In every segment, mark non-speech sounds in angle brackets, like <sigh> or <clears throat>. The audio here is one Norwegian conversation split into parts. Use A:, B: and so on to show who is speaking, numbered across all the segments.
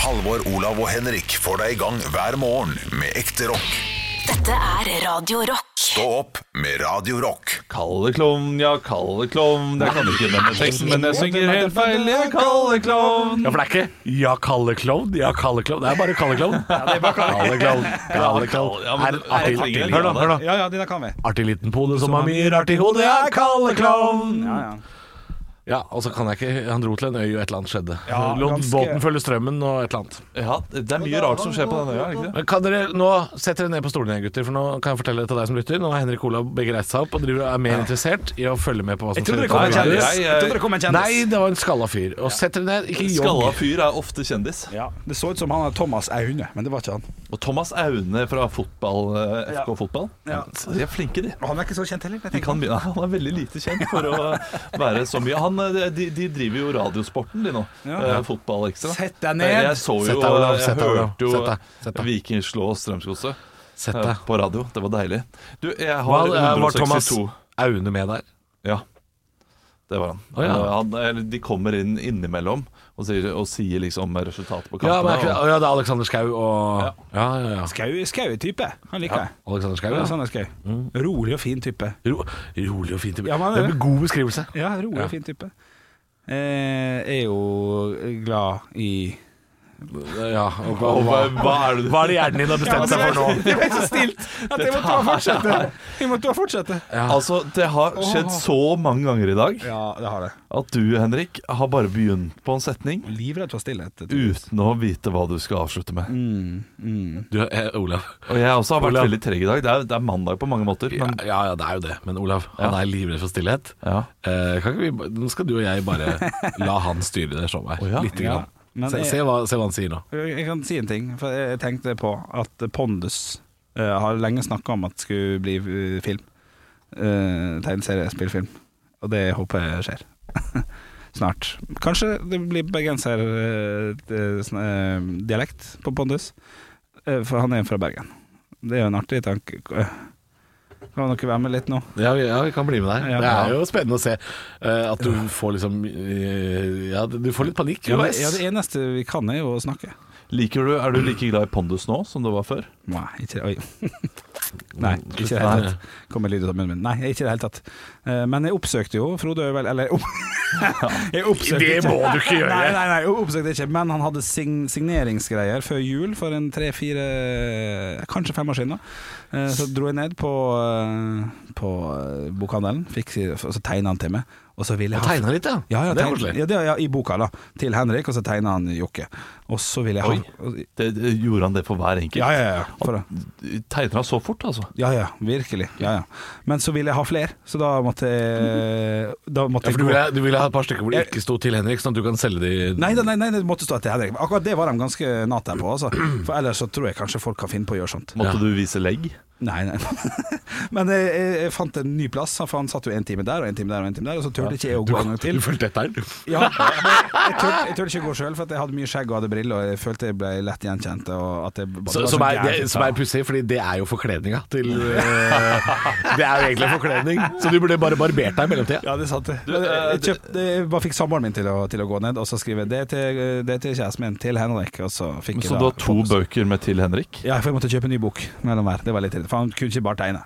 A: Halvor, Olav og Henrik får deg i gang hver morgen med ekte rock.
B: Dette er Radio Rock.
A: Stå opp med Radio Rock.
C: Kalle klovn, ja, kalle klovn Jeg kan ikke denne teksten, men jeg synger helt feil. Ja, kalle klovn.
D: Ja, for det er ikke Ja, kalle klovn. Ja, kalle klovn. Det er bare kalle <laughs> klovn. Kalle klovn. Kalle klovn.
C: Ja, men-
D: Er artig,
C: Nei, jeg
D: artig,
C: trenger
D: hør da, hør da.
E: Ja, ja, de der kan vi.
D: Artig liten pode som har mye rart i hodet. Ja, kalle klovn.
E: Ja, ja.
D: Ja, og så kan jeg ikke Han dro til en øy, og et eller annet skjedde.
E: Ja,
D: Lå-
E: ganske-
D: Båten følger strømmen, og et eller annet.
C: Ja, det er mye rart som skjer på denne øya, er det ikke det?
D: Men kan dere, Nå sett dere ned på stolen igjen, gutter, for nå kan jeg fortelle til deg som lytter. Nå har Henrik Olav begge reist seg opp og driver, er mer interessert i å følge med på hva som
E: Jeg trodde
D: skjer.
E: det kom en
C: Nei,
E: kjendis.
C: nei,
E: Jeg trodde det kom en kjendis.
D: Nei, det var en skalla fyr. Og sett dere ned, ikke jogg.
C: Skalla fyr er ofte kjendis.
E: Ja, det så ut som han er Thomas Aune, men det var ikke han.
C: Og Thomas Aune fra fotball, eh, FK Fotball.
E: Ja.
C: De er flinke, de.
E: Og Han er ikke så kjent heller.
C: De kan, begynne- <laughs> han er veldig lite kjent for å være så mye. Han, eh, de, de driver jo Radiosporten, de nå.
E: Ja.
C: Eh, Fotball ekstra.
E: Sett deg ned.
C: Jeg så jo
D: Sett deg, Olav,
C: Jeg
D: sett deg, Olav.
C: hørte jo
D: Sett deg, sett deg.
C: Viking slå Strømsgodset
D: Sett
C: eh,
D: deg.
C: på radio. Det var deilig. Du, jeg har
D: Hva, eh, var Thomas
C: 162
D: Aune med der?
C: Ja, det var han.
D: Å, ja.
C: Eh, han eller, de kommer inn innimellom og sier, og sier liksom resultatet på
D: Ja, men
C: kampen.
D: er ikke, det- ja, det er Alexander Skau og
C: Ja.
D: Ja, ja, ja.
E: Skau skau er type. Han liker jeg.
D: Alexander Skau,
E: Ja.
D: ja.
E: Sånn er Skau. Rolig og fin type.
D: Ro, rolig og fint.
E: Ja, men-
D: det er en god beskrivelse.
E: Ja, rolig
D: Ja.
E: og fin type. Eh, er jo glad i
D: Ja, og, og,
C: og,
D: hva,
C: hva, hva er det du
D: hva er det hjernen din har bestemt seg for nå?
E: <laughs> Det ble så stilt at jeg måtte bare fortsette. Jeg måtte bare fortsette.
C: Altså, det har skjedd så mange ganger i dag
E: Ja, det har det.
C: at du, Henrik, har bare begynt på en setning
E: Livredd for stillhet.
C: uten å vite hva du skal avslutte med.
E: Mm.
D: Du, eh, Olav.
C: Og jeg også har vært
D: Olav.
C: veldig treg i dag. Det er, det er mandag på mange måter,
D: Ja,
C: men
D: ja, ja, det er jo det. Men Olav, han
C: Ja.
D: er livredd for stillhet.
C: ja.
D: Eh, kan ikke vi, ba- nå skal du og jeg
E: <laughs>
D: bare la han styre det showet her.
C: ja.
D: Lite grann.
E: Men
D: se,
E: jeg-
D: se, hva, se hva han sier nå.
E: Jeg kan si en ting, for jeg tenkte på at Pondus eh, har lenge snakka om at det skulle bli eh, film. Uh, Tegneserie, spillfilm. Og det håper jeg skjer. <laughs> Snart. Kanskje det blir eh, bergenserdialekt eh, på Pondus, Eh, for han er fra Bergen. Det er jo en artig tanke. eh. Kan dere være med litt nå?
D: Ja, vi, ja, vi kan bli med der.
E: Ja.
D: det er jo spennende å se eh, at du får liksom eh, Ja, du får litt panikk
E: Ja, det,
D: underveis.
E: ja, det eneste vi kan, er jo å snakke.
C: Liker du, Er du like glad i pondus nå som du var før?
E: Nei, ikke
D: <laughs>
E: det. Oi. Nei, ikke i det hele tatt. Kom med lyd ut av munnen min. Nei, ikke i det hele tatt. Eh, Men jeg oppsøkte jo Frode Øvel Eller opp... <laughs> jeg oppsøkte
D: Det må du ikke gjøre.
E: Nei, nei, nei, jeg oppsøkte ikke. Men han hadde sign signeringsgreier før jul for en tre-fire, kanskje fem år siden. da Eh, Så dro jeg ned på, eh, på eh, bokhandelen, fikk, og så tegna han til meg. Og så ville jeg
D: Han
E: ha
D: tegna litt, ja.
E: ja, ja,
D: det er
E: tegn-
D: koselig.
E: ja, det, ja, I boka, da. Til Henrik, og så tegna han Jokke. Og så ville jeg ha
C: Det, det, gjorde han det for hver enkelt?
E: Ja, ja, ja. For, å-
C: Tegner han så fort, altså?
E: Ja, ja, virkelig. Ja, ja. Men så ville jeg ha flere, så da måtte jeg da måtte
D: Ja, for du
E: jeg gå-
D: ville, du ville ha et par stykker hvor det ikke sto til Henrik, sånn at du kan selge de
E: Nei, nei, nei, nei, det måtte stå etter Henrik. Men Akkurat det var de ganske nata på, altså. For ellers så tror jeg kanskje folk kan finne på å gjøre sånt.
C: Måtte du vise legg?
E: Nei, <laughs> nei. Men jeg, jeg, jeg fant en ny plass, for han satt jo en time der og en time der, og en time der, og så turte ikke jeg å gå en
D: <laughs>
E: gang til.
D: fulgte etter den.
E: Ja, men jeg turte, jeg turte ikke å gå sjøl, for at jeg hadde mye skjegg og hadde briller, og jeg følte jeg ble lett gjenkjent. Og at jeg bare, det
D: Så,
E: var
D: som
E: så
D: er,
E: gærent.
D: det, som er pussig, fordi det er jo forkledninga til <laughs> eh, Det er jo egentlig en forkledning, så du burde bare barbert deg i mellomtida.
E: Ja, det er sant. det. Men
C: eh,
E: jeg, jeg, kjøpt, jeg bare fikk samboeren min til å, til å gå ned, og så skrive det til, det til kjæresten min, til Henrik. Og så fikk
C: Så
E: jeg
C: du
E: da
C: har to bøker med til, Henrik?
E: Ja, for jeg måtte kjøpe en ny bok mellom hver. Det var litt irriterende, For han kunne ikke bare tegne.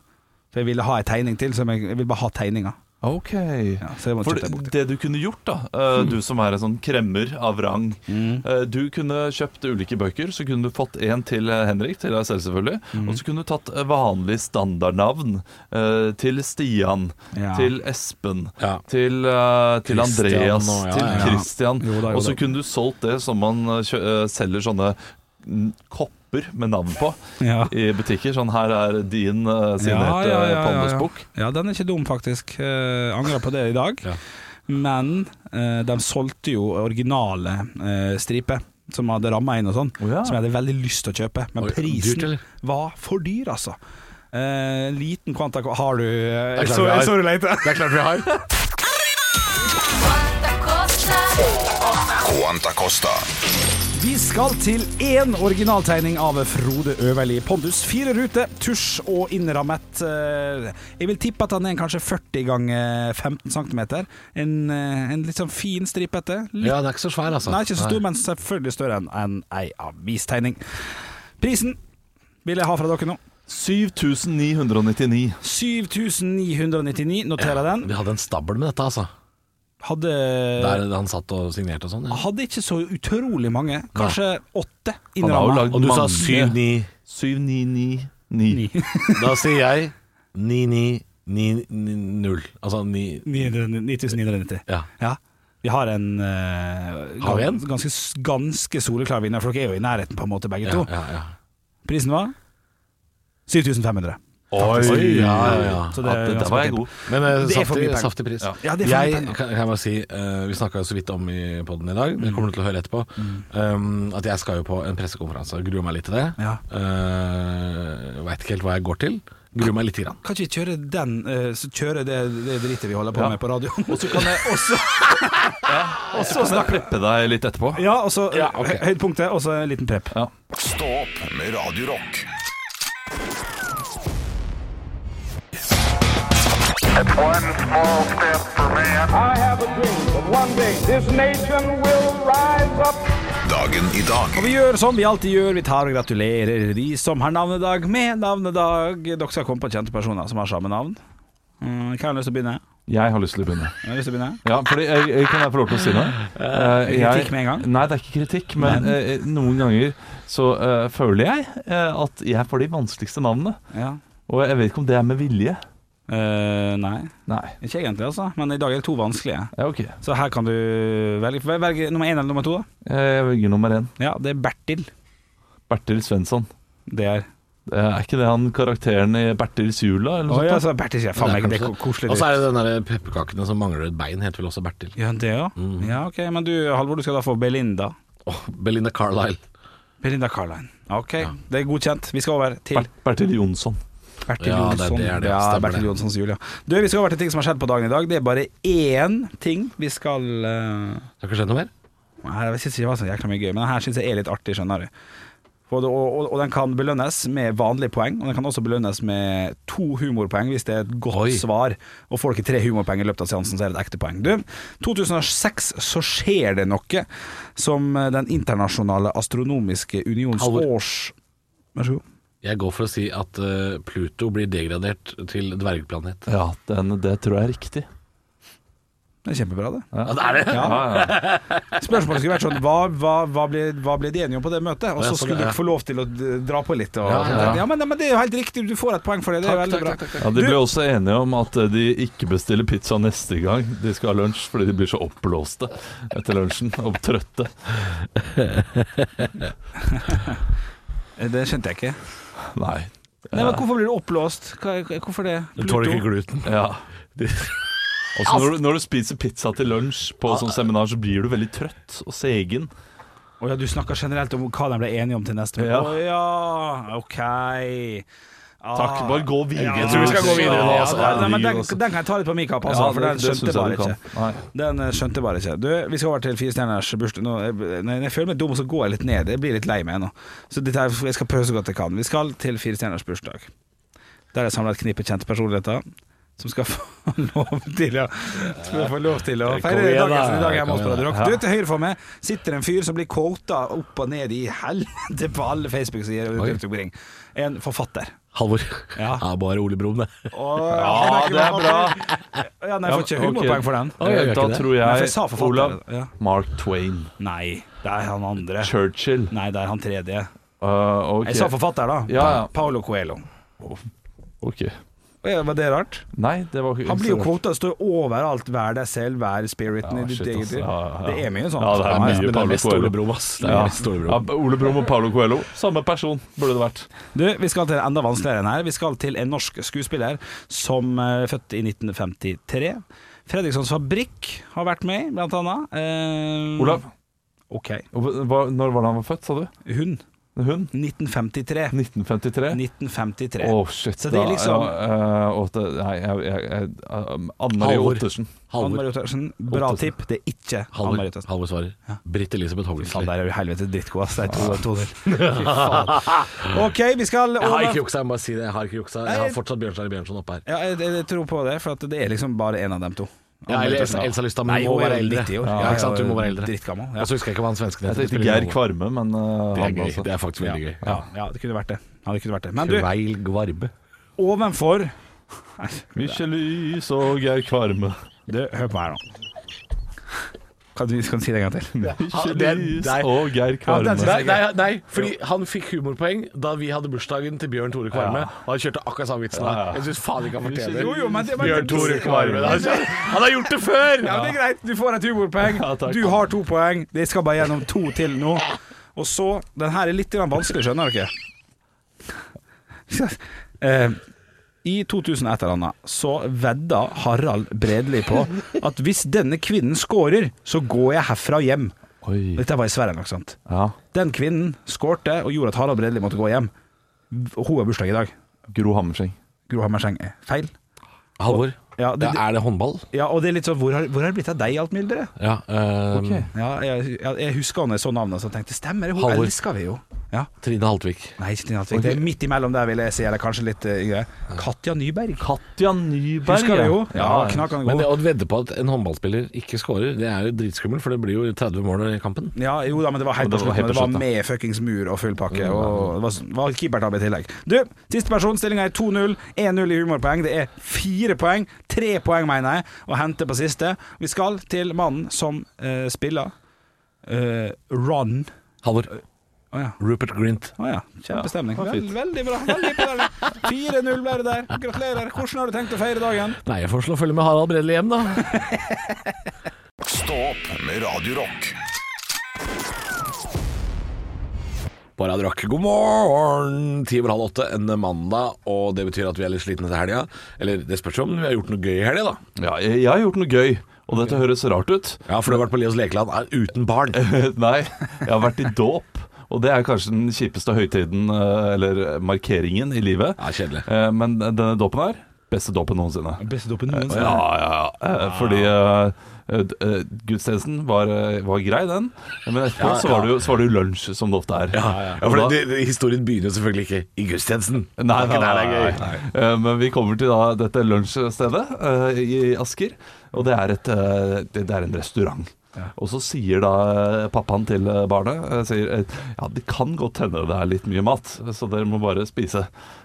E: For jeg ville ha en tegning til, så jeg, jeg ville bare ha tegninga.
C: Ok
E: Ja, så jeg måtte
C: For
E: kjøpe en bok til.
C: det du kunne gjort, da eh, du som er en sånn kremmer av rang eh, Du kunne kjøpt ulike bøker, så kunne du fått en til eh, Henrik, til deg selv selvfølgelig. Og så kunne du tatt eh, vanlig standardnavn eh, til Stian,
E: Ja.
C: til Espen,
D: Ja.
C: til, eh, til
D: Christian
C: Andreas,
D: og- ja,
C: til
D: ja.
C: Christian.
E: Jo da, jo
C: og så
E: da.
C: kunne du solgt det som man eh, kjø eh, selger sånne mm, kopper med navn på
E: Ja.
C: i butikker. Sånn her er din eh, signerte ja, Palmes-bok.
E: ja, den er ikke dum, faktisk. Uh, Angrer på det i dag.
D: Ja.
E: Men eh, de solgte jo originale eh, striper. Som hadde ramma inn og sånn.
C: Å ja.
E: Som jeg hadde veldig lyst til å kjøpe. Men
D: Oi, dyrt,
E: prisen
D: eller?
E: var for dyr, altså. Eh, liten kvanta Har du eh,
D: Det er klart
E: så,
D: vi har.
E: jeg så du leter.
D: Det er klart vi har.
A: K-analen Santa Costa.
E: Vi skal til én originaltegning av Frode Øverli Pondus. Fire ruter, tusj og innrammet. eh, Jeg vil tippe at han er en kanskje 40 ganger 15 cm. En, eh, en litt sånn fin stripete. Litt,
D: Ja, den er ikke så svær, altså.
E: nei, ikke så stor, men selvfølgelig større enn en ei avistegning. Prisen vil jeg ha fra dere nå.
C: 7999.
E: 7999, noterer jeg den.
D: Vi hadde en stabel med dette, altså.
E: Hadde,
D: Der han satt og signerte og sånn. ja.
E: hadde ikke så utrolig mange, kanskje åtte
C: Han har jo
E: innramma.
C: lagd
D: Og du sa
C: mange.
D: 7-9.
C: 7999.
D: <laughs> Da sier jeg 9-9-9-0. Altså 9
E: 9990.
D: Ja.
E: Ja. Vi har en, eh,
D: Har vi en?
E: gans- Ganske, ganske soleklar vinner, for dere er jo i nærheten, på en måte, begge
D: Ja,
E: to.
D: ja, ja.
E: Prisen var 7500.
D: Oi, ja, ja, ja.
E: Så det
C: Ja,
E: er
C: det,
E: ganske
C: der var jeg
E: fint.
C: god.
D: Men eh,
E: Det er for mye
D: saftig,
E: penger.
D: saftig pris.
E: Ja, det er for mye
D: jeg,
E: penger.
D: kan, kan jeg bare si, eh, Vi snakka jo så vidt om i poden i dag, det kommer du til å høre etterpå, ehm, at jeg skal jo på en pressekonferanse. og Gruer meg litt til det.
E: Mm. Ja.
D: Eh, Veit ikke helt hva jeg går til. Gruer meg lite grann.
E: Kan ikke vi kjøre den eh, Så kjøre det, det dritet vi holder på
C: Ja.
E: med på
D: <laughs>
E: radioen?
C: Og så kan jeg også Og så kan jeg preppe deg litt etterpå.
E: Ja, og så
D: Ja, ok.
E: hø- høydepunktet, og så en liten prep.
C: Ja.
A: Stå opp med Radio Rock.
F: One small step for man. I have a dream that one day this nation will rise up.
A: Dagen i dag.
E: Og vi gjør som vi alltid gjør, vi tar og gratulerer de som har navnedag med navnedag. Dere skal komme på kjente personer som har samme navn. Mm, Hvem har lyst til å begynne?
C: Jeg har lyst til å begynne.
E: Hvem har lyst til å begynne?
C: Ja, fordi jeg, jeg Kan jeg få lov til å si noe? Eh,
E: det kritikk med en gang?
C: Nei, det er ikke kritikk. Men eh, noen ganger så eh, føler jeg eh, at jeg får de vanskeligste navnene.
E: Ja.
C: Og jeg vet ikke om det er med vilje.
E: Eh, nei,
C: Nei.
E: ikke egentlig, altså. Men i dag er det to vanskelige.
C: Ja, ok.
E: Så her kan du velge, vel- velge nummer én eller nummer to. da.
C: Eh, Jeg velger nummer én.
E: Ja, det er Bertil.
C: Bertil Svensson.
E: Det er
C: Eh, Er ikke det han karakteren i Bertils jula? Eller
E: Å
C: noe
E: ja,
C: sånt?
E: så Bertil sier faen meg det er ko- koselig.
D: Og så er
E: dyr.
D: det den der pepperkakene som mangler et bein, heter vel også Bertil.
E: Ja, det ja. Ja, ok, Men du Halvor, du skal da få Belinda.
D: Åh, Belinda Carlisle.
E: Belinda Carline. Ok, det er godkjent. Vi skal over til
C: Ber Bertil Jonsson.
E: Bertil
D: Ja, det er
E: Jonsson.
D: det, det er det.
E: ja,
D: Stemmer
E: Bertil
D: det.
E: Jonssons jul, ja. Du, vi skal over til ting som har skjedd på dagen i dag. Det er bare én ting vi skal eh,
D: Har ikke skjedd noe mer?
E: Nei, Jeg synes ikke det var så jækla mye gøy, men den her synes jeg er litt artig, skjønner du. For det, og, og, og den kan belønnes med vanlige poeng, og den kan også belønnes med to humorpoeng hvis det er et godt
D: Oi.
E: svar, og får dere tre humorpoeng i løpet av seansen, så er det et ekte poeng. Du, 2006 så skjer det noe som eh, Den internasjonale astronomiske unions
D: Halvor.
E: års... Vær så god.
D: Jeg går for å si at eh, Pluto blir degradert til dvergplanet.
C: Ja, den, det tror jeg er riktig.
E: Det er kjempebra, det.
D: Ja, det er det!
E: Spørsmålet skulle vært sånn Hva, hva, hva, ble, hva ble de enige om på det møtet? Og
D: Ja,
E: så
D: sånn,
E: skulle
D: ja.
E: dere få lov til å d- dra på litt. Og,
D: Ja,
E: ja,
D: ja.
E: men, men det er jo helt riktig, du får et poeng for det. Det er veldig bra.
C: <laughs> Ja, De
E: Du-
C: ble også enige om at eh, de ikke bestiller pizza neste gang de skal ha lunsj, fordi de blir så oppblåste etter lunsjen og trøtte.
E: Eh, Det skjønte jeg ikke.
C: Nei.
E: Nei, men Hvorfor blir du oppblåst? Hva, hvorfor det?
D: Du tåler ikke gluten.
C: Ja. Også når, du, når du spiser pizza til lunsj på sånn seminar, så blir du veldig trøtt og segen.
E: Å ja, du snakker generelt om hva de ble enige om til neste
C: Ja.
E: Å ja, ok. Ah.
C: Takk, bare gå videre.
E: Jeg tror vi skal gå videre nå.
C: Ja,
E: Altså.
C: herregud,
E: Nei, men den,
C: altså.
E: den kan jeg ta litt på min kapp, altså,
C: Ja,
E: for
C: det-
E: den
C: det
E: skjønte
C: synes jeg
E: bare
C: du kan.
E: ikke.
C: Nei.
E: Den eh, skjønte bare ikke. Du, vi skal over til Fire stjerners bursdag. Nå, eh, Når jeg føler meg dum, så går jeg litt ned. Jeg blir litt lei meg nå. Så dette her, jeg skal prøve så godt jeg kan. Vi skal til Fire stjerners bursdag. Der er det samla et knippe kjente personligheter som skal <laughs> få lov til å, skal få lov til å
D: Kom
E: feire
D: igjen,
E: dagen
D: da.
E: sin i dag hjemme hos
D: Kom igjen,
E: Brødre Rock. Du, til høyre for meg sitter en fyr som blir quota opp og ned i helvete på alle Facebook-sider rundt omkring. En forfatter.
D: Halvor.
E: Ja.
D: bare Ole Brumm, det.
E: ja,
C: det er bra.
E: Ja, nei, jeg får ikke
C: ok.
E: humorpoeng for den.
D: Oi, jeg gjør
C: Da
D: ikke det.
C: tror
E: Nei, for jeg
C: jeg,
E: sa forfatter.
C: Olav
E: Ja.
C: Mark Twain.
E: Nei, det er han andre.
C: Churchill.
E: Nei, det er han tredje.
C: Uh, ok.
E: Jeg sa forfatter, da.
C: Ja, ja.
E: Paolo Coelho.
C: Ok.
E: Ja, Var det rart?
C: Nei, det var ikke
E: Han blir jo
C: så-
E: kvota, det står overalt 'vær deg selv', 'vær
C: Ja,
E: spiriten' i ditt
C: shit,
E: eget
C: ass.
E: liv.
C: Ja, ja.
E: Det er mye sånt.
C: Ja, det er mye
D: Men det
C: Paolo
D: er mest
C: Coelho.
D: Ole Brumm, ass. Det er
C: Ja.
D: mest Ole
C: Ja,
D: Brumm.
C: Ole Brumm og Paulo Coelho. Samme person burde det vært.
E: Du, vi skal til en enda vanskeligere enn her. Vi skal til en norsk skuespiller som eh, er født i 1953. Fredrikssons Fabrikk har vært med, i, blant annet. Eh,
C: Mm. Olav,
E: Ok.
C: hva, når var det han var født, sa du?
E: Hun.
C: En hund?
E: 1953.
C: 1953?
E: 1953.
C: Åh, shit.
E: Så det er
C: da-
E: liksom-
C: ja, eh, åtte, Nei, jeg, jeg, jeg um, Anne Marie
D: Halvor.
C: Ottersen.
E: Anne Marie
D: Halvor.
E: Ottersen, bra
D: Ottersen.
E: tipp. Det er ikke Anne
D: Halvor,
E: Marie Ottersen.
D: Halvor svarer. Britt Elisabeth
E: Faen,
D: Hoggensli.
E: der er du helvete drittgod, ass. Det er <laughs> 2-0. OK, vi skal
D: Jeg har
E: over
D: ikke juksa, jeg må bare si det. Jeg har ikke juksa. Jeg har fortsatt Bjørnstjerne Bjørnson oppe her.
E: Ja, jeg, jeg, jeg tror på det, for at det er liksom bare en av dem to.
D: Ja, eller Elsa, Elsa Lystad, men hun må
E: hun er
D: være eldre.
E: 90 år.
D: Ja, ikke sant, hun må være eldre.
E: Drittgammel.
D: Og
E: Ja.
D: så husker jeg ikke hva han svensken
C: Jeg
D: heter.
C: tenkte Geir Kvarme, men eh,
D: Det er
C: han
D: gøy.
C: altså.
D: Det er faktisk veldig gøy.
E: Ja, ja, det kunne vært det. Ja, det kunne vært det. Men du,
D: Kveil Gvarbe.
E: ovenfor
C: Michelys og Geir Kvarme.
E: Du, hør på her nå. Kan du, kan du si det en gang til?
C: Michelys
D: nei.
C: og Geir Kvarme.
D: Nei, nei, nei, fordi han fikk humorpoeng da vi hadde bursdagen til Bjørn Tore Kvarme. Og han kjørte akkurat samme vitsen. da. Jeg syns faen ikke han fortjener
E: Jo, jo, men det- men-
D: Bjørn Tore Kvarme. da. Han, har gjort det før!
E: Ja, men det er greit. Du får et humorpoeng.
C: Ja, takk.
E: du har to poeng. Det skal bare gjennom to til nå. Og så Den her er litt grann vanskelig, skjønner dere. <laughs> Eh, I 2000 et eller annet så vedda Harald Bredli på at hvis denne kvinnen scorer, så går jeg herfra og hjem.
C: Oi.
E: Dette var i Sverige, ikke sant.
C: Ja.
E: Den kvinnen skårte og gjorde at Harald Bredli måtte gå hjem. Og Hun har bursdag i dag.
C: Gro Hammerseng.
E: Gro Hammerseng er feil.
D: Halvor,
E: Ja, det,
D: er det håndball?
E: ja, og det er litt sånn Hvor har, hvor har det blitt av deg, alt mylderet?
D: Ja. ehm,
E: Ja, jeg, jeg, jeg husker når jeg så navnet Så tenkte jeg, stemmer det, hun
D: Halvor.
E: elsker vi jo ja.
D: Trine Haltvik.
E: Nei, ikke Tina Hatvik, det er midt imellom der vil jeg si Eller kanskje litt eh, yngre Katja Nyberg
C: Katja Nyberg.
E: Husker vi jo Ja,
C: Ja,
E: knakende
D: Men
E: god
D: det å vedde på at en håndballspiller ikke scorer, det er jo dritskummelt, for det blir jo 30 mål i kampen.
E: ja, jo da, men det var helt
C: Og
E: på
C: det var
E: slutten
C: helt
E: men Det
C: på
E: var
C: slutten,
E: med fuckings mur og full pakke Og det var, var keepertabbe i tillegg Du, siste person, stillingen er 2-0 1-0 i humorpoeng, det er 4 poeng 3 poeng mener jeg Å hente på siste Vi skal til mannen som eh, spiller eh, Ron
D: Halvor.
E: Åja
D: Rupert Grint.
E: Å ja. Kjempestemning.
C: Ja,
E: Vel,
C: fint.
E: veldig bra. Veldig imponerende. 4-0 ble det der. Gratulerer. Hvordan har du tenkt å feire dagen?
D: Nei, jeg får slå følge med Harald Bredli hjem, da. <laughs>
A: Stå opp med Radio Rock.
D: På Radio Rock. God morgen! Ti over halv åtte en mandag, og det betyr at vi er litt slitne til helga. Eller det spørs jo om vi har gjort noe gøy i helga, da.
C: Ja, jeg, jeg har gjort noe gøy, og dette høres rart ut. <laughs>
D: Ja, for du har vært på Leos lekeland er uten barn.
C: Nei, jeg har vært i dåp. Og det er kanskje den kjipeste høytiden, eh, eller markeringen, i livet.
D: Ja, kjedelig.
C: Eh, Men denne dåpen her, beste dåpen noensinne.
E: Beste dopen noensinne.
C: Ja, ja, ja. Eh, Fordi eh, d- eh, gudstjenesten var, eh, var grei, den. Men etterpå Så, var det jo, så var det jo lunsj, som det ofte er.
D: <laughs> Ja, for det, det, Historien begynner jo selvfølgelig ikke i gudstjenesten.
C: Nei,
D: Det er
C: nei,
D: ikke der
C: nei,
D: det er gøy.
C: nei. Eh, Men vi kommer til da, dette lunsjstedet eh, i Asker, og det er, et, eh, det det er en restaurant. Og så sier da eh, pappaen til eh, barnet eh, sier, eh, Ja, det kan godt hende det er litt mye mat, så dere må bare spise.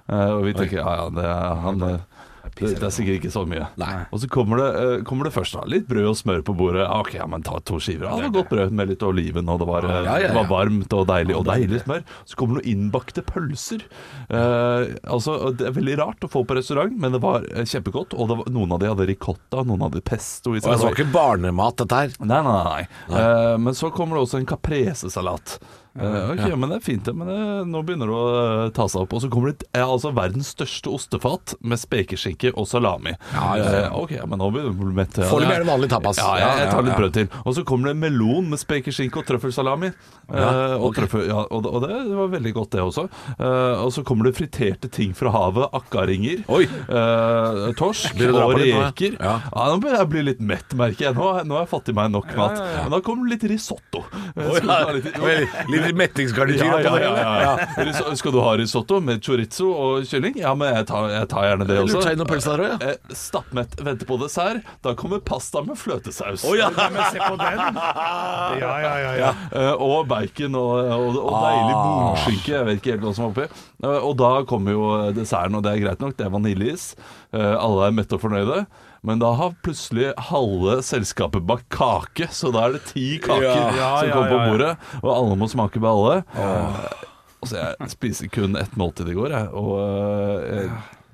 C: Eh, Og vi tenker ja, ja, det er, han, eh, det, det er sikkert ikke så mye.
D: Nei.
C: Og så kommer det, eh, kommer det først da litt brød og smør på bordet. Ja, Ok, ja, men ta to skiver. Ja, det var godt brød med litt oliven, og det var, eh,
D: Ja, ja, ja.
C: Det var varmt og deilig. Og deilig smør. Så kommer det noen innbakte pølser. Eh, altså, og det er veldig rart å få på restaurant, men det var eh, kjempegodt. Og det var, noen av de hadde ricotta, noen hadde pesto. i seg.
D: Og jeg så ikke barnemat, dette her.
C: Nei, nei, nei. Eh, men så kommer det også en caprese-salat. Eh, ok, men det er fint, det, men det, nå begynner det å eh, ta seg opp. Og så kommer det eh, altså verdens største ostefat med spekeskinke og salami.
D: Ja, ja, ja.
C: Eh, ok, men nå begynner du å bli mett. ja.
D: Foreløpig er det vanlig tapas.
C: Ja, jeg, jeg tar
D: Ja, ja,
C: litt
D: ja.
C: brød til. Og så kommer det melon med spekeskinke og trøffelsalami. Eh, og,
D: ok.
C: trøffel, ja, og, og det var veldig godt, det også. Eh, og så kommer det friterte ting fra havet. Akkaringer.
D: Oi.
C: eh, torsk
D: Blir det dra
C: og
D: på litt nå, ja?
C: reker.
D: Ja.
C: Ja, nå begynner jeg å bli litt mett, merker jeg. Nå, nå har jeg fått i meg nok mat. Men da kom litt risotto.
D: Oi,
C: Skal du
D: ja.
C: ha litt-
D: <laughs> Litt, litt mettingsgarnityr
C: Ja,
D: oppå
C: ja,
D: det.
C: ja,
D: eller?
C: ja. Riso- Skal du ha risotto med chorizo og kylling? Ja, men jeg tar, jeg tar gjerne det
D: Lurt
C: også.
D: seg inn noen pølser der også, ja.
C: Eh, Stappmett venter på dessert. Da kommer pasta med fløtesaus.
D: Å, ja.
C: Eh, Og bacon og, og, og deilig
D: Ah.
C: borskinke. Jeg vet ikke helt hva som er oppi. Eh, Og da kommer jo desserten, og det er greit nok. Det er vaniljeis. Eh, Alle er mette og fornøyde. Men da har plutselig halve selskapet bakt kake, så da er det ti kaker
D: Ja.
C: som kommer på bordet. Og alle må smake på alle. Altså, jeg spiser kun ett måltid i går, jeg. Og eh,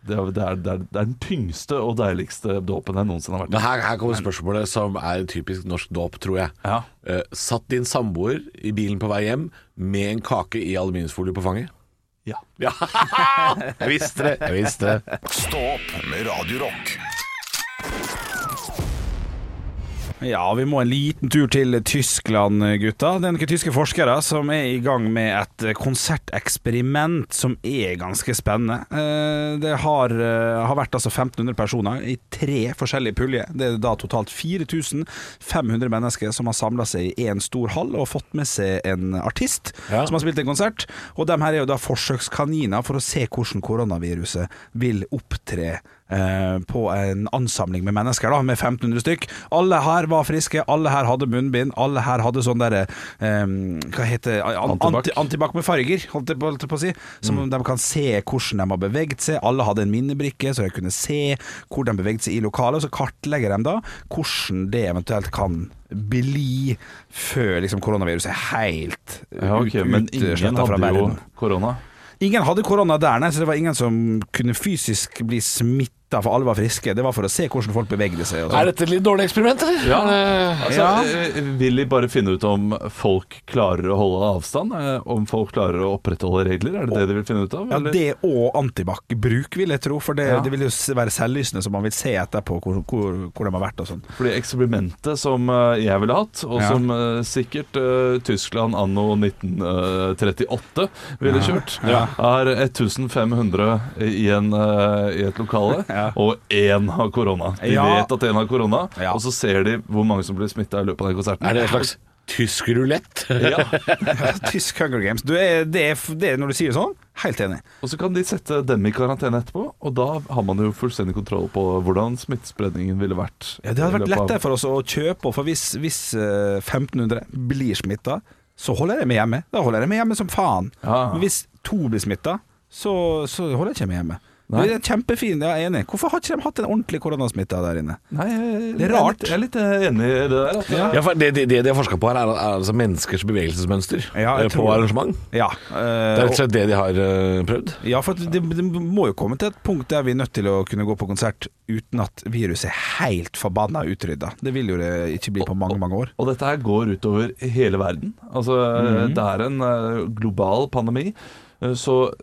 C: det er, det, er, det, er, det er den tyngste og deiligste dåpen jeg noensinne har vært i.
D: Men her, her kommer spørsmålet som er typisk norsk dåp, tror jeg.
C: Ja.
D: Eh, satt din samboer i bilen på vei hjem med en kake i aluminiumsfolie på fanget?
C: Ja.
D: Ja, <laughs> jeg visste det. Jeg visste det.
A: Stå opp med Radio Rock.
E: Ja, vi må en liten tur til Tyskland, gutta. Det er noen tyske forskere som er i gang med et konserteksperiment som er ganske spennende. Eh, Det har, eh, har vært altså 1500 personer i tre forskjellige puljer. Det er da totalt 4500 mennesker som har samla seg i én stor hall og fått med seg en artist
D: Ja.
E: som har spilt en konsert. Og de her er jo da forsøkskaniner for å se hvordan koronaviruset vil opptre eh, på en ansamling med mennesker, da, med 1500 stykk. Alle her var friske, alle her hadde munnbind, alle her hadde sånn derre eh, Hva heter an-
C: Antibac. Mm.
E: anti- Antibac med farger, holdt jeg på, holdt jeg på å si. Som de kan se hvordan de har beveget seg. Alle hadde en minnebrikke, så de kunne se hvor de beveget seg i lokalet. Og så kartlegger de da hvordan det eventuelt kan bli før liksom, koronaviruset er helt
C: Ja, ok, Men ingen
E: utsletta fra
C: hadde jo
E: verden.
C: korona.
E: Ingen hadde korona der, nei, så det var ingen som kunne fysisk bli smitta, for alle var friske. Det var for å se hvordan folk bevegde seg. Og sånn.
D: Er dette et litt dårlig eksperiment, eller?
C: Ja.
D: Er det-
C: Altså, eh, Vil de bare finne ut om folk klarer å holde avstand? eh, Om folk klarer å opprettholde regler? Er det det de vil finne ut av?
E: Ja,
C: eller?
E: det og antibac-bruk, vil jeg tro. For det,
C: Ja.
E: det vil jo s- være selvlysende, så man vil se etterpå hvor, hvor, hvor de har vært og sånn.
C: Fordi eksperimentet som eh, jeg ville hatt, og
E: Ja.
C: som eh, sikkert eh, Tyskland anno 1938 ville kjørt, er 1500 i, en, eh, i et lokale,
E: Ja.
C: og én har korona. De
E: Ja.
C: vet at én har korona,
E: Ja.
C: og så ser de hvor mange som blir smitta i løpet av den konserten.
D: Er det en slags tysk rulett?
C: Ja.
E: Tysk Hunger Games. Du er, det, er, det er når du sier sånn, helt enig.
C: Og så kan de sette dem i karantene etterpå, og da har man jo fullstendig kontroll på hvordan smittespredningen ville vært.
E: Ja, det hadde
C: i
E: vært
C: løpet av-
E: lettere for oss å kjøpe, for hvis, hvis eh, 1500 blir smitta, så holder jeg meg hjemme. Da holder jeg meg hjemme som faen.
C: Ja.
E: Men hvis to blir smitta, så, så holder jeg ikke meg hjemme.
C: Nei.
E: Det er kjempefin, jeg er enig. Hvorfor har ikke de hatt en ordentlig koronasmitta der inne?
C: Nei, jeg-
E: Det er rart.
C: Jeg er litt, jeg er litt enig i det der. At
D: Ja, for det, det, det de har forska på her, er, er altså menneskers bevegelsesmønster
E: Ja, jeg
D: eh, på
E: tror det.
D: arrangement.
E: Ja,
D: Det er
E: eh,
D: rett og slett det de har eh, prøvd.
E: og- ja, for at det, det må jo komme til et punkt der vi er nødt til å kunne gå på konsert uten at viruset er helt forbanna utrydda. Det vil jo det ikke bli på mange, mange år.
C: Og dette her går utover hele verden. Altså,
E: Mhm.
C: Det er en eh, global pandemi, eh, så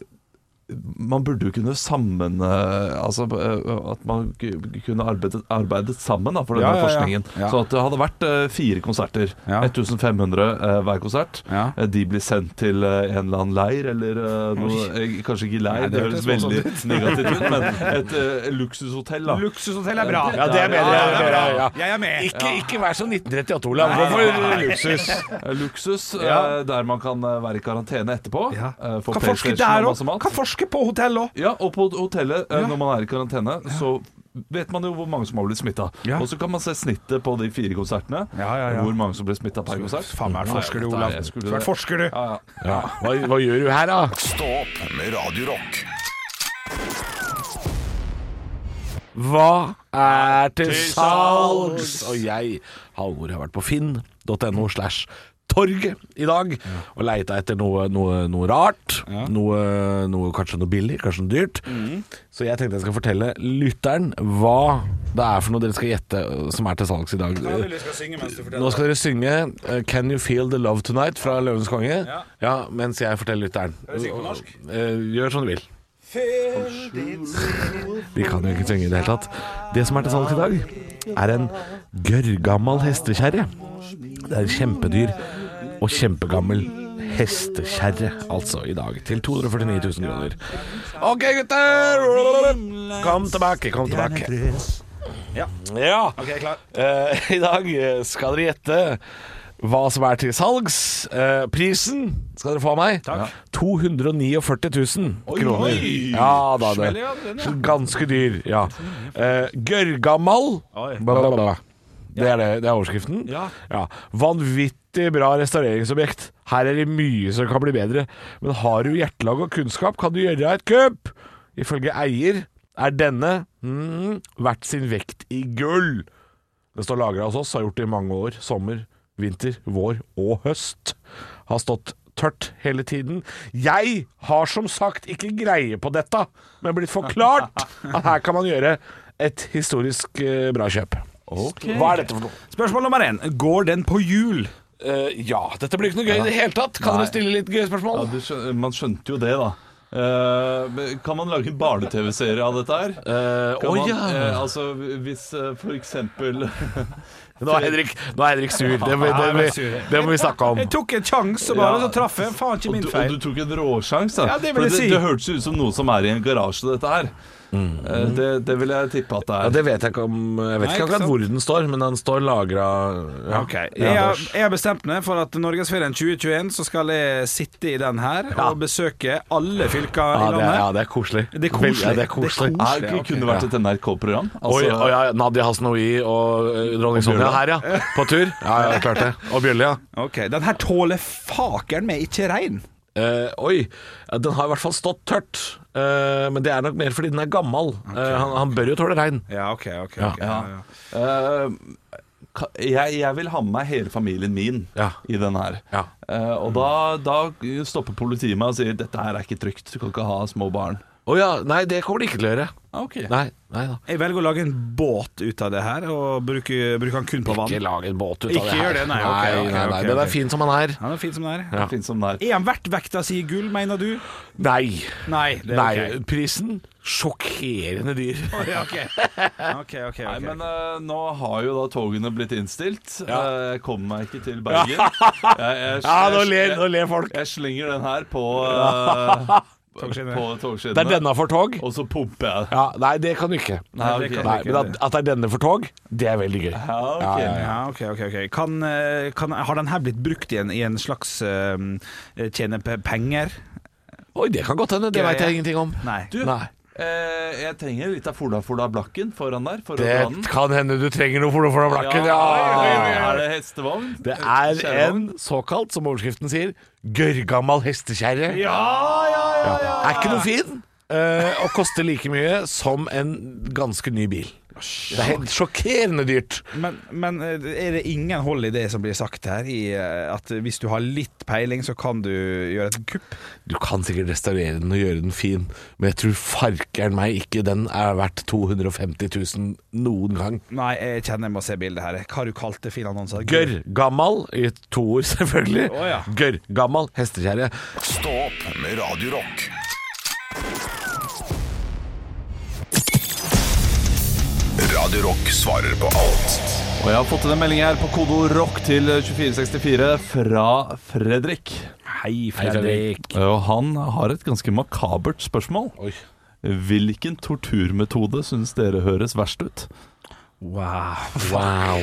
C: man burde jo kunne sammen eh, Altså eh, at man ku- kunne arbeidet, arbeidet sammen da, for denne
E: Ja, ja, ja.
C: forskningen.
E: Ja.
C: Så at det hadde vært eh, fire konserter.
E: Ja.
C: 1500 eh, hver konsert.
E: Ja.
C: Eh, De blir sendt til eh, en eller annen leir, eller eh, noe, eh, kanskje ikke leir,
E: Nei,
C: det,
E: det
C: høres
E: hørtes
C: veldig negativt ut,
E: <laughs>
C: men et eh, luksushotell, da.
E: Luksushotell er bra!
D: Ja, det er bedre.
E: Ja, det er bra.
D: Ja.
E: Jeg er med!
D: Ikke, ikke vær som 1938, Olav. Gå for luksus.
C: Eh, Luksus,
E: Ja.
C: eh, der man kan eh, være i karantene etterpå.
E: Ja.
C: eh, få
E: Kan forske
C: PlayStation
E: der
C: og
E: òg!
C: masse mat.
E: Kan forske på hotell òg!
C: Ja, og på hotellet, eh, når man er i karantene, så vet man jo hvor mange som har blitt smitta.
E: Ja.
C: Og så kan man se snittet på de fire konsertene.
E: Ja, ja, ja.
C: Hvor mange som ble smitta per konsert.
E: Faen meg,
C: Nei,
E: forsker du,
C: dette er-
E: Olav.
C: jeg skulle-
E: Du er forsker, du.
C: Ja, ja.
D: Ja. Hva, hva gjør du her, da?
A: Stå opp med Radio Rock.
D: Hva er til salgs? Og jeg, Halvor, har vært på finn.no slash torget i dag og leita etter noe, noe, noe rart. Noe, noe, kanskje noe billig, kanskje noe dyrt. Så jeg tenkte jeg skal fortelle lytteren hva det er for noe dere skal gjette øh, som er til salgs i dag. Nå skal dere synge eh, 'Can You Feel The Love Tonight' fra Løvenes konge. Ja. mens jeg forteller lytteren. Eh, Gjør som du vil. De kan jo ikke synge i det hele tatt. Det som er til salgs i dag, er en gørrgammal hestekjerre. Det er kjempedyr og kjempegammel hestekjerre, altså, i dag. Til 249 000 kroner. OK, gutter! Kom tilbake, kom tilbake. Ja. Eh, <laughs> I dag eh, skal dere gjette hva som er til salgs. Eh, prisen skal dere få av meg. 249 000 kroner. Ja da, det. Ganske dyr, ja. Eh, Gørrgammal. Bla, bla, bla. Det er, det, det er overskriften. Ja. Vanvittig bra restaureringsobjekt. Her er det mye som kan bli bedre. Men har du hjertelag og kunnskap, kan du gjøre et kupp. Ifølge eier er denne mm, verdt sin vekt i gull. Den står lagra hos oss, har gjort det i mange år. Sommer, vinter, vår og høst. Har stått tørt hele tiden. Jeg har som sagt ikke greie på dette, men blitt forklart at her kan man gjøre et historisk eh, bra kjøp. Hva er dette for noe?
E: Spørsmål nummer én. Går den på hjul?
D: Eh, ja, dette blir ikke noe gøy i det hele tatt. Kan
C: Nei.
D: dere stille litt gøye spørsmål?
C: Ja, du skjøn- man skjønte jo det, da. Eh, men kan man lage en barne-TV-serie av dette her?
D: Eh,
C: Kan
D: å
C: man,
D: ja.
C: eh, altså, hvis eh, for eksempel
D: Nå er Henrik, nå er Henrik sur. Det, må- det, må- det må vi snakke om.
E: Jeg tok en sjanse og bare, så traff jeg. Faen, ikke
C: Og du,
E: min
C: og
E: feil.
C: du tok en råsjanse. da.
E: Ja, det vil
C: For
E: jeg
C: det,
E: si.
C: det hørtes ut som noe som er i en garasje, dette her. Eh, Det, det vil jeg tippe at det
D: Mm. Ja,
C: er.
D: det vet jeg ikke om Jeg vet
E: Nei,
D: ikke
E: ikke
D: akkurat
E: sant?
D: hvor den står, men den står lagra ja.
E: Ok,
D: Ja.
E: jeg, har- jeg har bestemt meg for at Norgesferien 2021 så skal jeg sitte i den her og besøke alle fylker
D: Ja,
E: i
D: det er, ja,
E: landet.
D: det er koselig.
E: Det er koselig.
D: Ja, det er koselig.
E: Det er
C: Er
E: koselig,
C: ikke
E: ok.
C: kunne vært et NRK-program.
D: Oi,
C: Altså,
D: oi, ja, Nadia Hasnoi og eh, dronning Sonja her, ja. På tur. <laughs> Ja, ja, klart det. Og Bjølle, ja.
E: Ok, Den her tåler fakeren med ikke regn.
D: Eh, oi, ja, den har i hvert fall stått tørt. Eh, men det er nok mer fordi den er gammel. Eh, han, han bør jo tåle regn.
E: Ja, ok, ok.
D: Ja.
E: ok.
C: ja.
E: ja.
C: Eh, ka- jeg, jeg vil ha med meg hele familien min
D: Ja.
C: i den her.
D: Ja.
C: Eh, og da, da stopper politiet meg og sier dette her er ikke trygt, du kan ikke ha små barn.
D: Å ja, nei, det kommer de ikke til å gjøre.
E: Ah,
C: Ok.
D: Nei, nei da.
E: Jeg velger å lage en båt ut av det her, og bruke, bruke den kun på vann.
D: Ikke lag en båt ut av
E: Ikke
D: det her.
E: gjør det, nei, ok,
D: nei, nei,
E: ok,
D: nei.
E: ok,
D: Den
E: ok.
D: er fin som han er.
E: Han er fin som den er.
D: Ja.
C: Det finnes sånn der.
E: Er han verdt vekta si i gull, mener du?
D: Nei.
E: Nei. Det er
D: nei
E: ok.
D: Prisen sjokkerende dyr.
E: Ja, <laughs> ok. Ok, ok, ok.
C: Nei, men eh, nå har jo da togene blitt innstilt. Eh, jeg kommer meg ikke
D: <laughs>
C: til Bergen. Jeg, jeg,
D: Ja, nå
C: jeg-
D: ler, nå ler folk.
C: Jeg slenger den her
D: <laughs>
C: på, eh, på togskinnene.
D: Det er denne for tog.
C: Og så pumper jeg.
D: Ja, nei, det kan du ikke. Nei,
C: Nei, ok.
D: men at, at det er denne for tog, det er veldig gøy.
C: Ja, ok.
D: Ja, ja,
E: Ja, ok, ok, ok kan, eh, kan, Har den her blitt brukt i en, i en slags eh, tjene pe- penger?
D: Oi, det kan godt hende. Det
E: Ja,
D: veit
E: ja.
D: jeg ingenting om.
E: Nei.
C: Du,
D: Nei.
C: eh, jeg trenger litt av Fola Fola Blakken foran der. For å
D: Det
C: dra den.
D: kan hende du trenger noe for noe for blakken, ja.
C: Er det hestevogn?
D: Det er en
C: Kjærevogn?
D: såkalt, som overskriften sier, gørrgammal hestekjerre.
C: Ja, ja, ja! ja, ja.
D: Er ikke noe fin, eh, og koster like mye som en ganske ny bil. Det er helt sjokkerende dyrt.
E: Men, men eh, er det ingen hold i det som blir sagt her? I eh, at hvis du har litt peiling, så kan du gjøre et kupp?
D: Du kan sikkert restaurere den og gjøre den fin, men jeg tror farkeren meg ikke den er verdt 250 000 noen gang.
E: Nei, jeg kjenner jeg må se bildet her. Hva har du kalte fin annonse?
D: Gørrgammal, i to ord selvfølgelig.
E: Å, ja.
D: Gørrgammal hestekjerre.
A: Stå opp med Radio Rock. Radio Rock svarer på alt.
C: Og jeg har fått en melding her på kodo rock til 2464 fra Fredrik.
E: Hei,
C: Og han har et ganske makabert spørsmål. Hvilken torturmetode syns dere høres verst ut?
E: Wow.
D: Wow.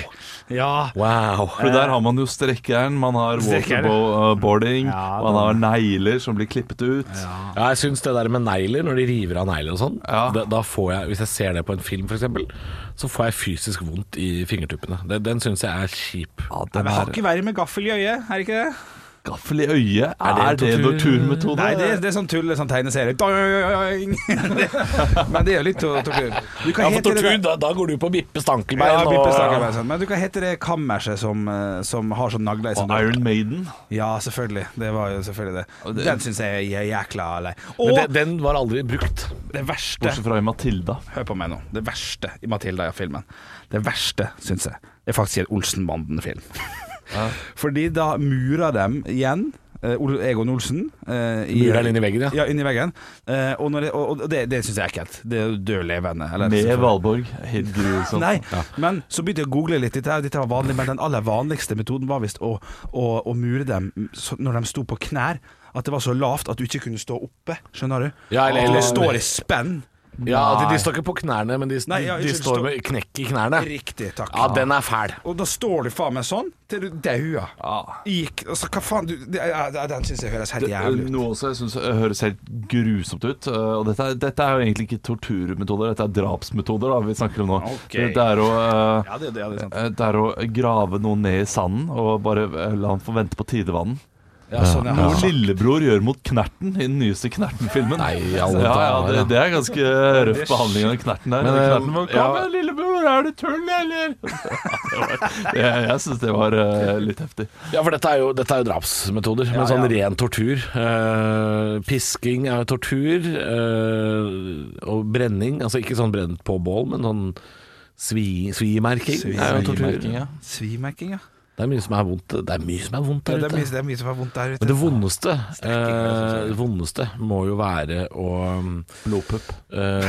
E: Ja.
D: Wow.
E: Eh,
C: For der har man jo strekkeren, man har
E: Strekkeren.
C: waterboarding,
E: Ja,
C: man har negler som blir klippet ut.
D: Ja, jeg syns det der med negler, når de river av negler og sånn,
C: Ja.
D: da, da får jeg, hvis jeg ser det på en film f.eks., så får jeg fysisk vondt i fingertuppene. Den, den syns jeg er kjip.
C: Ja,
E: Men
C: den
E: har
C: er
E: ikke verre med gaffel i øyet, er det ikke det?
C: gaffel i øyet. Er
D: det
C: det,
D: en tortur-
C: torturmetode?
E: Nei, det, er- det er sånn tull, sånn tegneserie. Doing! <laughs> Men det er jo litt to- tortur. Du
D: Ja,
E: kan
D: for
E: hete det
D: tortur, da, da går du på Bippe Stankelbein.
E: Ja,
D: og-
E: Bippe snakker bare sånn. Men du kan hete det kammerset som, eh, som har sånn nagler i
C: Og
E: sin dør.
C: Iron Maiden.
E: Ja, selvfølgelig. Det var jo selvfølgelig det.
C: det-
E: Den syns jeg er jækla lei.
D: Men
E: Og
D: den, den var aldri brukt.
E: det verste
C: Bortsett fra i Matilda.
E: Hør på meg nå. Det verste i Matilda-filmen. Det verste, syns jeg, er faktisk en Olsenbanden-film. <laughs> Fordi da murer dem igjen eh, Ol- Egon Olsen eh, i-
D: Murer den inn i veggen, ja.
E: Ja, inn i veggen. Eh, og, når det, og og det, det syns jeg er ekkelt. Det er jo død levende. eller-
C: Med Valborg. Helt
D: sånn.
C: grusomt.
E: Nei, men så begynte jeg å google litt. Dette, her, dette var vanlig, men den aller vanligste metoden var visst å, å, å mure dem så, når de sto på knær. At det var så lavt at du ikke kunne stå oppe. Skjønner du?
D: Ja, eller-
E: at
D: eller-
E: du står i spenn.
D: Ja, de, de står ikke på knærne, men de,
E: Nei, ja,
D: de, de
E: unnskyld,
D: står
E: stå-
D: med knekk i knærne.
E: Riktig, takk.
D: Ja, den er fæl.
E: Og da står du faen meg sånn til du dauer. Gikk altså, Hva faen du, det, ja, ja, Den syns jeg høres helt jævlig ut.
C: Noe som jeg syns høres helt grusomt ut. eh, Og dette er, dette er jo egentlig ikke torturmetoder, dette er drapsmetoder da, vi snakker om nå.
E: Ok.
C: Det, det er å eh,
E: Ja, det, det, det er sant.
C: eh, det er å grave noen ned i sanden og bare eh, la han få vente på tidevannet.
E: Ja, sånn, ja.
C: Noe lillebror gjør mot Knerten i den nyeste Knerten-filmen.
D: Nei, i
C: ja,
D: alle
C: ja,
D: dager,
C: det,
D: ja.
C: det er ganske røff behandling av Knerten der.
D: Men, eh,
C: knerten var,
D: ja.
C: Kom igjen, lillebror, er det tull, eller? <laughs> jeg jeg syns det var eh, litt heftig.
D: Ja, for dette er jo, dette er jo drapsmetoder, men sånn ren tortur. Eh, pisking er jo tortur, eh, og brenning, altså ikke sånn brent på bål, men sånn svi, svimerking er jo tortur.
C: Merking, ja.
E: Svimerking, ja.
D: Det Det er mye som er vondt Det er mye som er vondt der
E: Det er, mye,
D: ute.
E: det er mye som er vondt der ute.
D: Men det vondeste eh, Det vondeste må jo være å mm, Blodpupp. Eh,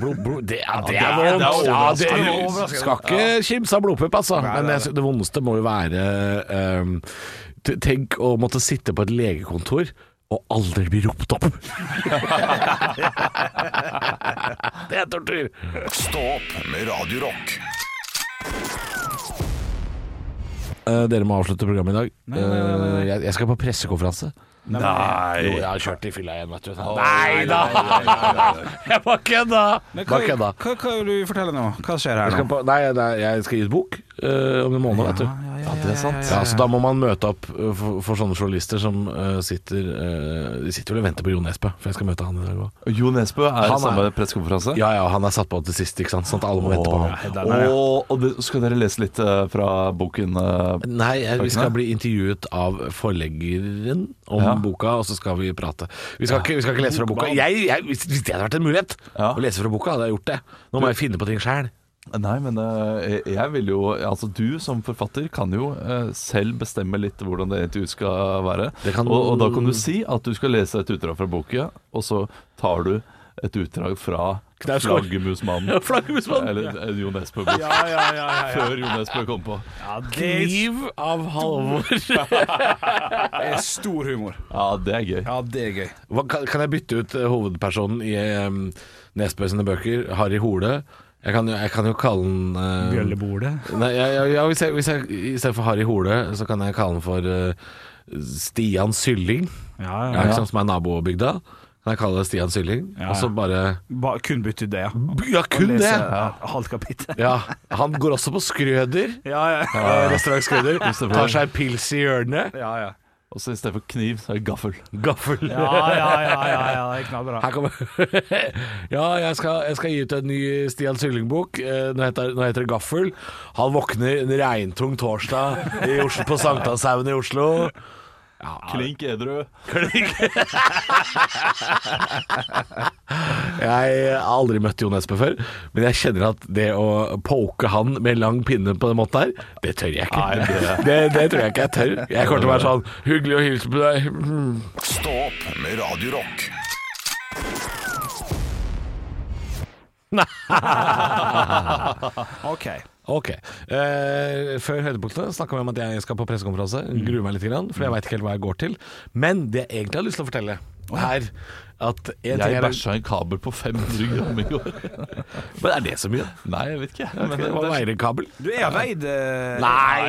D: blod, blod, det, ja, det er
C: det er- det er
D: vondt! Ja, det
C: overraskende.
D: skal ikke kimse av blodpupp, altså. Men jeg, sy- det vondeste må jo være eh, t- Tenk å måtte sitte på et legekontor og aldri bli ropt opp. <laughs> det er tortur!
A: Stå opp med Radio Rock.
D: Eh, dere må avslutte programmet i dag. Eh, jeg, jeg skal på pressekonferanse. Jo,
C: Nei.
D: jeg har kjørt i fylla igjen, vet du. Nei da! <laughs> Jeg bare kødda!
E: hva,
D: Bare
E: hva,
D: kødda.
E: hva, er det du forteller nå? Hva skjer
D: Jeg
E: her
D: skal,
E: nå?
D: på, nei, nei, jeg skal gi ut bok eh, om en måned, vet du.
C: Ja, det er sant.
D: Ja, så da må man møte opp eh, for, for sånne journalister som eh, sitter eh, De sitter vel og venter på Jo Nesbø, for jeg skal møte han i dag òg.
C: Jo Nesbø er
D: Han er-
C: i samme pressekonferanse.
D: Ja ja, han er satt på til sist, ikke sant. Sånn at alle må vente på
C: Åh,
D: ham.
C: og, og det, skal dere lese litt eh, fra boken? eh,
D: Nei, jeg, vi skal
C: Bøkene?
D: bli intervjuet av forleggeren om
C: Ja.
D: boka, og så skal vi prate. Vi skal, ikke, vi skal ikke lese fra boka. Jeg, jeg, hvis, hvis det hadde vært en mulighet
C: Ja.
D: å lese fra boka, hadde jeg gjort det. Nå må jeg finne på ting
C: <laughs>
D: sjæl.
C: Nei, men eh, jeg- jeg vil jo Altså, du som forfatter kan jo eh, selv bestemme litt hvordan det intervjuet skal være.
D: Det kan-
C: og, og da kan du si at du skal lese et utdrag fra boka, og så tar du et utdrag fra
D: Knausgård. <laughs>
C: Flaggermusmannen.
D: Flaggermusmannen.
C: Eller en Jo Nesbø-bok. Før Jo Nesbø kom på.
D: Kniv av Halvor.
E: Det er stor humor.
C: Ja, det er gøy.
E: Ja, det er gøy.
D: Hva, kan, kan jeg bytte ut eh, hovedpersonen i um, Nesbø sine bøker? Harry Hole. Jeg kan, jo- jeg kan jo kalle den eh, Nei, ja, ja, ja, hvis jeg, hvis jeg, I stedet for Harry Hole, så kan jeg kalle den for eh, Stian Sylling.
E: Ja,
D: Ja, ikke sant, som er nabobygda. Kan jeg kalle det Stian Sylling?
E: Ja,
D: Og så
E: ja.
D: bare
E: Ba, kun bytte ut det, ja.
D: Ja, kun det!
E: Halvt kapittel.
D: Ja, Han går også på Skrøder.
E: <laughs> Ja, ja.
D: eh, Restaurant Skrøder. Tar seg en pils i hjørnet.
E: Ja, ja.
C: Og så i stedet for kniv, så er det gaffel.
D: Gaffel.
E: Ja, ja, ja, ja, ja, det er knallbra.
D: Her kommer <laughs> Ja, jeg skal, jeg skal gi ut en ny Stian Sylling-bok. Eh, Nå heter, nå heter det Gaffel. Han våkner en regntung torsdag i Oslo, på Sankthanshaugen i Oslo.
C: Klink edru.
D: Jeg har aldri møtt Jo Nesbø før, men jeg kjenner at det å poke han med lang pinne på den måten her, det tør jeg ikke.
C: Nei, det-
D: det, det tror jeg ikke jeg tør. Jeg kommer til å være sånn Hyggelig å hilse på deg. Mm.
A: Stå opp med Radio Rock.
E: Ok.
D: Ok. Eh, før høydepunktene snakka vi om at jeg skal på pressekonferanse. Gruer meg litt, grann, for jeg veit ikke helt hva jeg går til. Men det jeg egentlig har lyst til å fortelle, er at en ting
C: Jeg
D: er
C: bæsja en kabel på 500 gram i går. <laughs>
D: Men er det så mye?
C: Nei, jeg vet ikke. Men
D: Hva veier en kabel?
E: Du er veid eh,
C: Nei,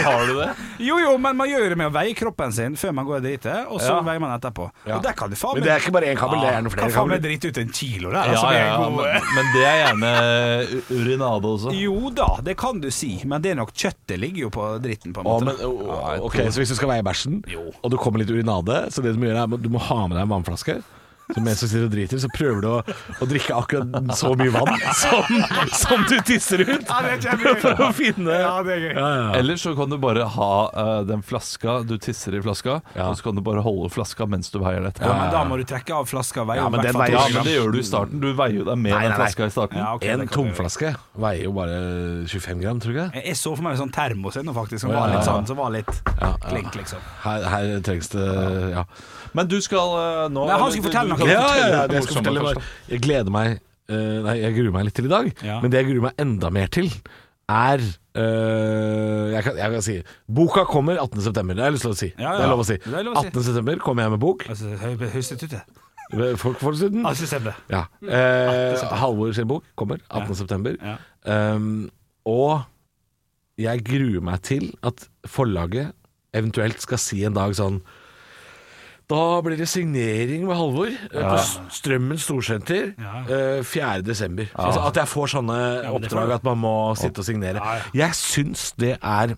C: har du det?
E: Jo, jo, men man gjør det med å veie kroppen sin før man går og driter, og så
D: Ja.
E: veier man etterpå.
D: Ja.
E: Og der kan du faen Ah,
D: Men det er ikke bare én kabel, det er gjerne
E: Kan
D: flere
E: faen
D: kabler.
E: meg drite ut en kilo der,
C: Ja,
E: altså.
C: ja,
E: Ja,
C: ja, men, men det er gjerne u- urinade også.
E: <laughs> Jo da, det kan du si, men det er nok kjøttet ligger jo på dritten, på en
D: Å,
E: måte.
D: men, å, å, ok, Så hvis du skal veie bæsjen, og du kommer litt urinade, så det du må gjøre er at du må ha med deg en vannflaske. Så mens du sitter og driter, så prøver du å, å drikke akkurat så mye vann <laughs> som, som du tisser ut. For å finne
E: Ja, det er gøy.
D: Ja, ja.
C: Eller så kan du bare ha eh, den flaska Du tisser i flaska,
D: Ja.
C: og så kan du bare holde flaska mens du veier det etterpå.
E: Ja, men da må du trekke av flaska og veie
D: Ja,
E: om
D: men
E: hvert
D: den veier-
E: fall to
C: Ja,
D: men
C: men
E: gram.
C: det gjør du i starten. Du veier jo deg med
D: Nei, nei,
C: den
D: nei.
C: flaska i starten.
E: Ja, ok,
D: En
E: det kan du gjøre.
D: tomflaske veier jo bare 25 gram, tror du ikke? det?
E: Jeg jeg så for meg en sånn termos ennå, faktisk, som
D: Å, ja, ja,
E: var litt
D: ja.
E: sånn, som var litt klink, liksom.
D: Her, her trengs det ja.
C: Men du skal eh, nå
E: Nei, han
C: eller
E: skal
C: du-
E: fortelle
C: du
E: noe.
C: kan
E: Ja,
C: fortelle
D: ja, ja,
C: noe
D: jeg skal
C: morsomt
D: fortelle
C: først,
D: meg Jeg gleder meg eh, Nei, jeg gruer meg litt til i dag
E: Ja.
D: Men det jeg gruer meg enda mer til Er eh, jeg, kan, jeg kan si Boka kommer 18. september Det har jeg lyst til å si
E: Ja, ja.
D: Det er lov å si
E: Det er lov å si.
D: 18. september kommer jeg med bok
E: Altså, hø- Høyestetutet.
D: Folk får siden
E: Altså, stemmer det.
D: ja. eh, Halvor sin bok kommer 18. september
E: Ja.
D: um, Og jeg gruer meg til at forlaget eventuelt skal si en dag sånn da blir det signering med Halvor eh, på S- Strømmen storsenter eh, 4. desember. Altså at jeg får sånne oppdrag at man må sitte og signere. Jeg syns det er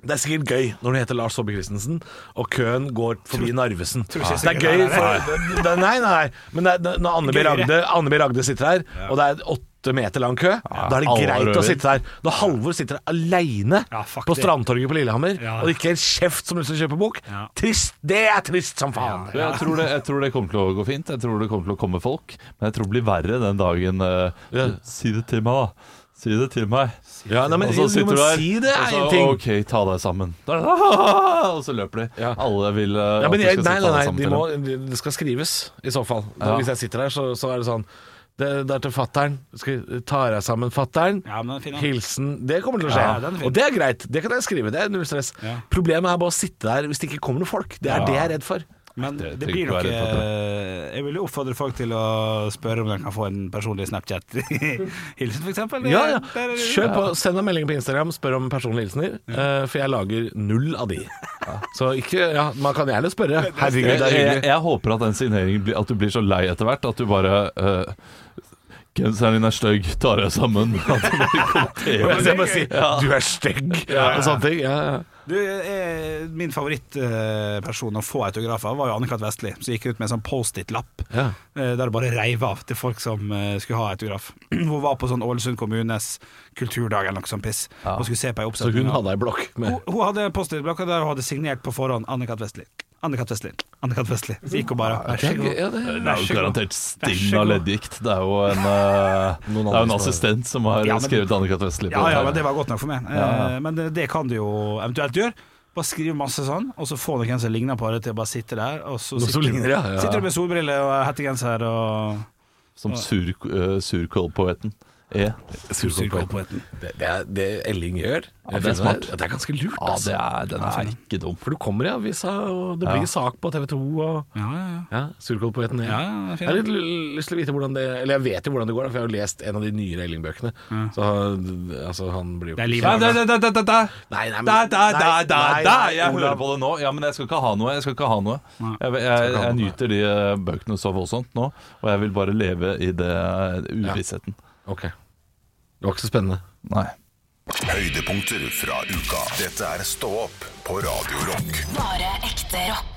D: det er sikkert gøy når det heter Lars Saabye Christensen, og køen går forbi Narvesen. Det er gøy for det, Nei, nei, nei. Men det, er- det, når Anne B. Ragde, Anne B. Ragde sitter her, og det er åtte meter lang kø, da er det
C: alle
D: greit å
C: røver.
D: sitte der. Når Halvor sitter der aleine
E: Ja, fuck
D: på
E: det.
D: Strandtorget på Lillehammer,
E: Ja.
D: og det ikke er en kjeft som har lyst til å kjøpe bok,
E: Ja.
D: trist. Det er trist som faen.
C: Du, Jeg tror, det, jeg tror det kommer til å gå fint. Jeg tror det kommer til å komme folk. Men jeg tror det blir verre den dagen eh,
D: Ja.
C: Si det til meg, da. Si det til meg.
D: Ja, nei, men,
C: Og så sitter du der,
D: Si det
C: og
D: er
C: så,
D: en ting.
C: OK, ta deg sammen. Da er det, <laughs> «Ah!» Og så løper de.
D: Ja.
C: Alle vil eh,
D: Ja,
C: at
D: men
C: du
D: jeg,
C: skal si,
D: nei, nei,
C: ta deg
D: nei,
C: sammen
D: de
C: til
D: må,
C: dem.
D: det skal skrives, i så fall.
C: Ja.
D: Hvis jeg sitter der, så, så er det sånn Det, det er til fatter'n. Skal- Ta deg sammen, fatter'n.
E: Ja, men den er fin, da.
D: Hilsen Det kommer til å skje.
E: Ja, den er fin.
D: og det er greit. Det kan jeg skrive. Det er null stress.
E: Ja.
D: Problemet er bare å sitte der hvis det ikke kommer noen folk. Det er det jeg er redd for.
E: Men det,
C: trenger
E: blir
C: ikke
E: nok
C: være redd for
E: eh, Jeg vil jo oppfordre folk til å spørre om de kan få en personlig <laughs> Snapchat-hilsen, f.eks.
D: Ja, ja. Kjør på. Send en melding på Instagram, spør om personlige hilsener. eh, For jeg lager null av de. Så ikke Ja, man kan gjerne spørre. Herregud,
C: Jeg,
D: det er
C: jeg,
D: hyggelig.
C: jeg håper at den signeringen blir At du blir så lei etter hvert at du bare eh, Genseren din er stygg, ta deg sammen. <laughs> At du bare kommenterer.
D: Og jeg bare si Du er stygg og sånn. sånne ting. Ja, ja.
E: Du, eh, min favorittperson å få autograf av var jo Anne-Kat. Vestli, som gikk ut med en sånn Post-It-lapp
D: Ja.
E: eh, der det bare reiv av til folk som eh, skulle ha autograf. <clears throat> Hun var på sånn Ålesund kommunes kulturdag eller noe sånt piss, og skulle se på
D: Så
E: ei oppsetning.
D: hun
E: av-
D: hadde ei blokk med
E: Hun, hun hadde Post-It-blokka der hun hadde signert på forhånd Anne-Kat. Vestli. Anne-Kat. Vestli. Anne-Kat. Vestli. Så gikk hun bare Vær så god.
D: Ja, det
C: Det er jo garantert stinn
E: Vær så
C: av
E: god.
C: leddgikt. Det er jo en, eh, det er jo en assistent som har
E: Ja, men-
C: skrevet Anne-Kat. Vestli. på
E: Ja, ja,
C: dette.
E: men det var godt nok for meg. Eh, Men det, det kan du jo eventuelt gjøre. Bare skriv masse sånn, og så få noen som ligner på det, til å bare sitte der. Og så
D: Noe
E: sitter,
D: som ligner, ja, ja.
E: sitter du med solbriller og hettegenser og
C: Som sur, eh, surkålpoeten. E.
E: surkålpoeten.
D: Det, det er det Elling gjør.
C: Ja, det er smart.
D: Det er ganske lurt,
C: Ja,
D: altså.
C: det er, den er ikke dum.
D: For du kommer i avisa, og det blir sak på TV 2 og
E: Ja, ja, ja.
D: ja, Surkålpoeten. Ja.
E: ja, ja
D: Jeg har
E: fint.
D: litt l- lyst til å vite hvordan det Eller jeg vet jo hvordan det går, da, for jeg har jo lest en av de nyere Elling-bøkene. Så altså, han blir jo
E: Det er
C: Ja,
E: livet.
C: da, da, da, da, da, da.
D: Nei, nei, men-
C: Da, da, da, da,
D: Nei, nei,
C: da.
D: nei,
C: Jeg
D: Olav.
C: hører på det nå. Ja, men jeg skal ikke ha noe. Jeg skal ikke ha noe. Jeg, jeg, jeg nyter de eh, bøkene så voldsomt nå, og jeg vil bare leve i det eh, uvissheten.
D: Ok. Det var ikke så spennende.
C: Nei.
A: Høydepunkter fra uka. Dette er Stå opp på Radio Rock.
B: Bare ekte rock.